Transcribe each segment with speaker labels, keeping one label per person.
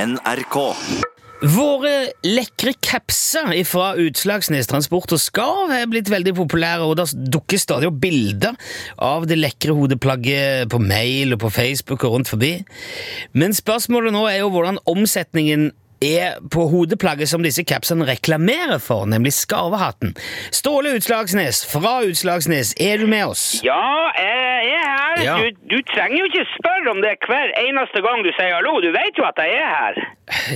Speaker 1: NRK.
Speaker 2: Våre lekre capser fra Utslagsnes Transport og Skarv er blitt veldig populære, og det dukker stadig opp bilder av det lekre hodeplagget på mail og på Facebook og rundt forbi. Men spørsmålet nå er jo hvordan omsetningen er på hodeplagget som disse capsene reklamerer for, nemlig skarvehatten. Ståle Utslagsnes fra Utslagsnes, er du med oss?
Speaker 3: Ja, jeg er her.
Speaker 2: Ja.
Speaker 3: Du, du trenger jo ikke spørre om det hver eneste gang du sier hallo. Du vet jo at jeg er her.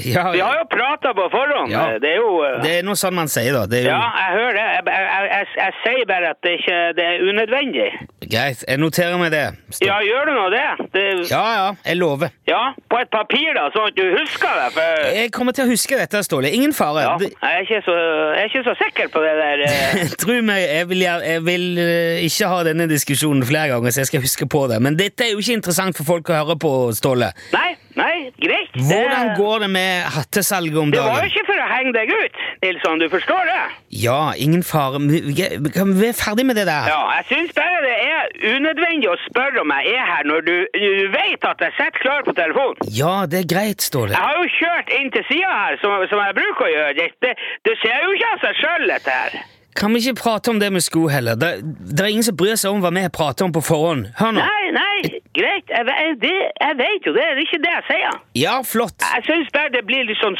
Speaker 2: Ja,
Speaker 3: Vi har jo prata på forhånd.
Speaker 2: Ja.
Speaker 3: Det er jo eh,
Speaker 2: det er noe sånn man sier, da. Det er jo...
Speaker 3: Ja, jeg hører det. Jeg, jeg, jeg, jeg, jeg sier bare at det, ikke, det er unødvendig.
Speaker 2: Greit, jeg noterer meg det. Stå-
Speaker 3: Ja, gjør du nå det? det
Speaker 2: ja, ja, jeg lover.
Speaker 3: ja, på et papir, da, sånn at du husker det. For
Speaker 2: Jeg kommer til å huske dette, Ståle. Ingen fare.
Speaker 3: ja,
Speaker 2: Eh, Det-
Speaker 3: jeg, er ikke så, jeg er ikke så sikker på det der. eh.
Speaker 2: Tro meg, jeg vil, gjer- jeg vil eh, ikke ha denne diskusjonen flere ganger, så jeg skal huske på det. Men dette er jo ikke interessant for folk å høre på, Ståle.
Speaker 3: Nei, nei, greit. Det-
Speaker 2: Hvordan går det med hattesalget om
Speaker 3: Det var jo
Speaker 2: dagen?
Speaker 3: ikke for å henge deg ut, Nilsson. Du forstår det?
Speaker 2: Ja, ingen fare. Vi vi- kan vi være ferdig med det der?
Speaker 3: Ja, jeg syns bare det er unødvendig å spørre om jeg er her, når du, du vet at jeg sitter klar på telefonen.
Speaker 2: Ja, det er greit, Ståle.
Speaker 3: Jeg har jo kjørt inn til sida her, som, som jeg bruker å gjøre. Det, det, det skjer jo ikke av seg sjøl, dette her.
Speaker 2: Kan vi ikke prate om det med sko heller? Det, det er ingen som bryr seg om hva vi prater om på forhånd. Hør nå.
Speaker 3: Nei, nei, greit. Jeg, ve- det, jeg vet jo det. Det er ikke det jeg sier.
Speaker 2: Ja, flott.
Speaker 3: Jeg syns bare det blir litt sånn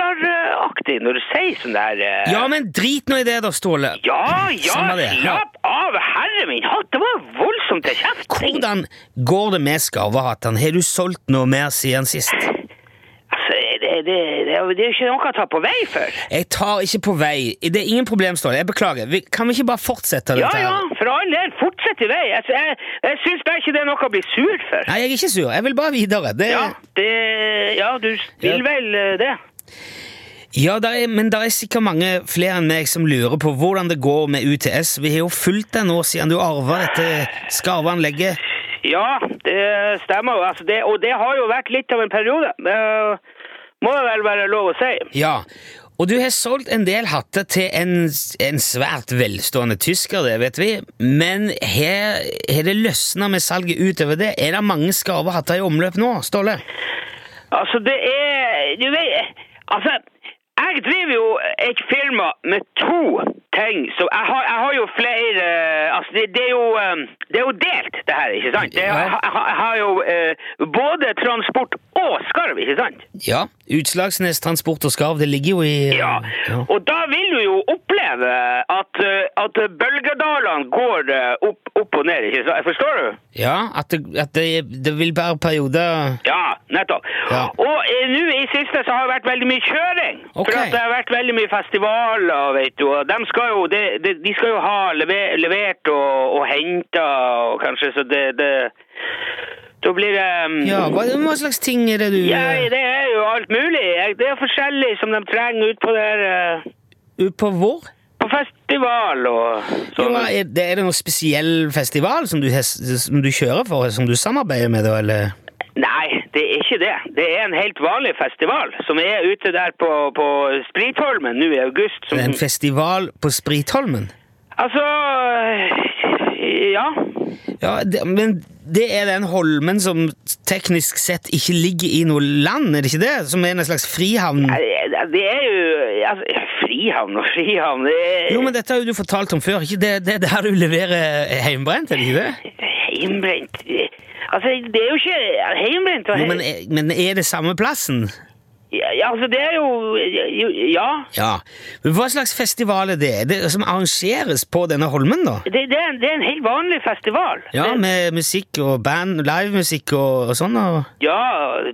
Speaker 3: skuespilleraktig når du sier sånn der eh,
Speaker 2: Ja, men drit nå i det da, Ståle.
Speaker 3: Ja,
Speaker 2: Samme
Speaker 3: ja,
Speaker 2: det.
Speaker 3: slapp av, herre min hatt! Det var voldsomt til kjefting.
Speaker 2: Hvordan går det med skarvehatten? Har du solgt noe mer siden sist?
Speaker 3: Altså, det, det, det, det er jo ikke noe å ta på vei for.
Speaker 2: Jeg tar ikke på vei. Det er ingen problem, Ståle. Jeg beklager. Vi- Kan vi ikke bare fortsette dette?
Speaker 3: Ja,
Speaker 2: her?
Speaker 3: ja, for all del, fortsett i vei. Jeg, jeg, jeg syns bare ikke det er noe å bli sur for.
Speaker 2: Nei, jeg er ikke sur. Jeg vil bare videre. Det,
Speaker 3: Ja,
Speaker 2: ja.
Speaker 3: det, ja du vil
Speaker 2: Ja.
Speaker 3: vel eh, det?
Speaker 2: der er, men det er sikkert mange flere enn meg som lurer på hvordan det går med UTS. Vi har jo fulgt deg nå siden du arva dette skarveanlegget.
Speaker 3: Ja, det stemmer jo. Altså, det, og det har jo vært litt av en periode. Det må det vel være lov å si.
Speaker 2: Ja. Og du har solgt en del hatter til en, en svært velstående tysker, det vet vi. Men har har det løsna med salget utover det? Er det mange skarvehatter i omløp nå, Ståle?
Speaker 3: Altså, det er Du vet Altså, jeg driver jo et firma med to ting som Jeg har, jeg har jo flere Altså, det, det, er jo, eh, det er jo delt, det her, ikke sant? Det, er- jeg, har- jeg, har- jeg har jo eh, både transport og skarv, ikke sant?
Speaker 2: Ja. Utslagsnes Transport og Skarv, det ligger jo i
Speaker 3: Ja. Og da vil du jo oppleve at, eh, at bølgedalene går eh, opp, opp og ned, ikke sant? Forstår du?
Speaker 2: Ja, at det, at det, det vil være perioder
Speaker 3: Ja, nettopp.
Speaker 2: Ja.
Speaker 3: Og eh, nå i siste så har det vært veldig mye kjøring.
Speaker 2: Ok.
Speaker 3: For at det har vært veldig mye festivaler, vet du. Og de skal jo, de, de, de skal jo ha lever, levert og, og henta og kanskje, så det, det Da blir det um,
Speaker 2: Ja, hva, hva slags ting er det du
Speaker 3: ja, det er jo alt mulig. Jeg- Det er forskjellig som de trenger ut på der eh,
Speaker 2: Ut På hvor?
Speaker 3: På festival og
Speaker 2: Jo,
Speaker 3: sånn.
Speaker 2: er, det, er det noen spesiell festival som du, har- som du kjører for, som du samarbeider med, da, eller?
Speaker 3: Nei, det er ikke det. Det er en helt vanlig festival som er ute der på, på Spritholmen nå i august. Som,
Speaker 2: Det er en festival på Spritholmen?
Speaker 3: Altså øh, Ja.
Speaker 2: Ja, det, men det er den holmen som teknisk sett ikke ligger i noe land, er det ikke det? Som er en slags frihavn?
Speaker 3: Det er jo altså, Frihavn og frihavn det er,
Speaker 2: Jo, men dette har jo du fortalt om før, ikke det? Det er der du leverer eh, heimbrent, er det ikke det?
Speaker 3: Heimbrent Altså, det er jo ikke Heimbrent og
Speaker 2: Jo, men, er- men er det samme plassen?
Speaker 3: ja, Altså, det er jo Ja.
Speaker 2: Ja. Men hva slags festival er det? Er det som arrangeres på denne holmen, da?
Speaker 3: Det, det, er, en, det er en helt vanlig festival.
Speaker 2: Ja,
Speaker 3: det,
Speaker 2: med musikk og band, livemusikk og, og sånn, og
Speaker 3: ja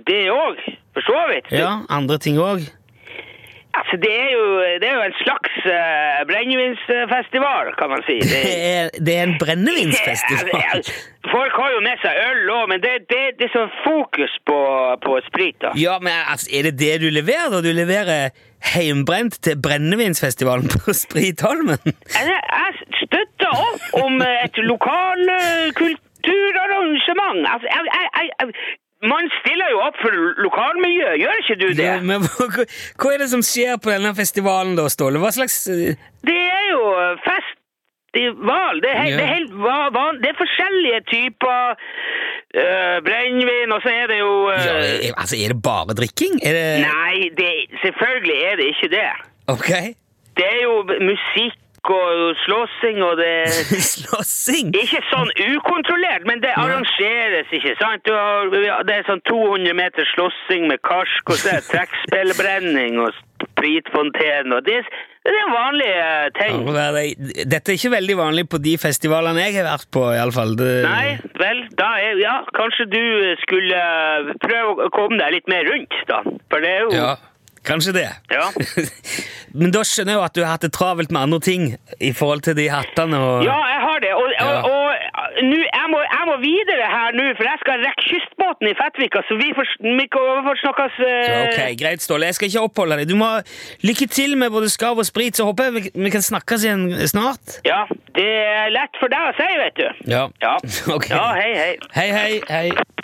Speaker 3: det òg. For så vidt.
Speaker 2: ja, andre ting òg.
Speaker 3: Altså, det er jo, det er jo en slags uh, brennevinsfestival, kan man si.
Speaker 2: Det, er- det er en brennevinsfestival.
Speaker 3: Folk har jo med seg øl òg, men det, det, det er sånn fokus på, på sprit. da.
Speaker 2: Ja, men altså, er det det du leverer, da? Du leverer heimbrent til brennevinsfestivalen på Spritholmen?
Speaker 3: Jeg jeg støtter opp om et lokal eh, kulturarrangement. Altså, jeg, jeg, jeg, jeg, man stiller jo opp for lokalmiljøet, gjør ikke du det?
Speaker 2: Ja, men hva, hva er det som skjer på denne festivalen, da, Ståle? Hva slags eh,
Speaker 3: Det er jo eh, festival. Det er, helt,
Speaker 2: Ja.
Speaker 3: det er, helt, va- van- det er forskjellige typer eh, brennevin, og så er det jo eh,
Speaker 2: Ja, er- altså, er det bare drikking? Er det
Speaker 3: Nei, det, selvfølgelig er det ikke det.
Speaker 2: Ok.
Speaker 3: Det er jo b- musikk og slåssing og det
Speaker 2: Slåssing?
Speaker 3: Ikke sånn ukontrollert, men det arrangeres, ikke sant? Du har, ja, det er sånn 200 meter slåssing med karsk, og så er det trekkspillbrenning og spritfonten, og det, det er vanlige eh, ting.
Speaker 2: Ja, det- Dette er ikke veldig vanlig på de festivalene jeg har vært på, iallfall.
Speaker 3: Nei, vel, da er Ja, kanskje du eh, skulle eh, prøve å komme deg litt mer rundt, da. For det er jo
Speaker 2: Ja, kanskje det.
Speaker 3: Ja.
Speaker 2: Men da skjønner jeg jo at du har hatt det travelt med andre ting i forhold til de hattene og
Speaker 3: Ja, jeg har det. Og, og,
Speaker 2: Ja.
Speaker 3: og, nå, jeg, må, jeg må videre her nå, for jeg skal rekke kystbåten i Fettvika, så vi får, vi får snakkes eh,
Speaker 2: Ja, Ok, Greit, Ståle. Jeg skal ikke oppholde deg. Du må ha Lykke til med både skarv og sprit, så håper jeg vi, vi kan snakkes igjen snart.
Speaker 3: Ja, det er lett for deg å si, vet du.
Speaker 2: Ja.
Speaker 3: Ja,
Speaker 2: Ok.
Speaker 3: ja hei, hei.
Speaker 2: Hei, hei, hei.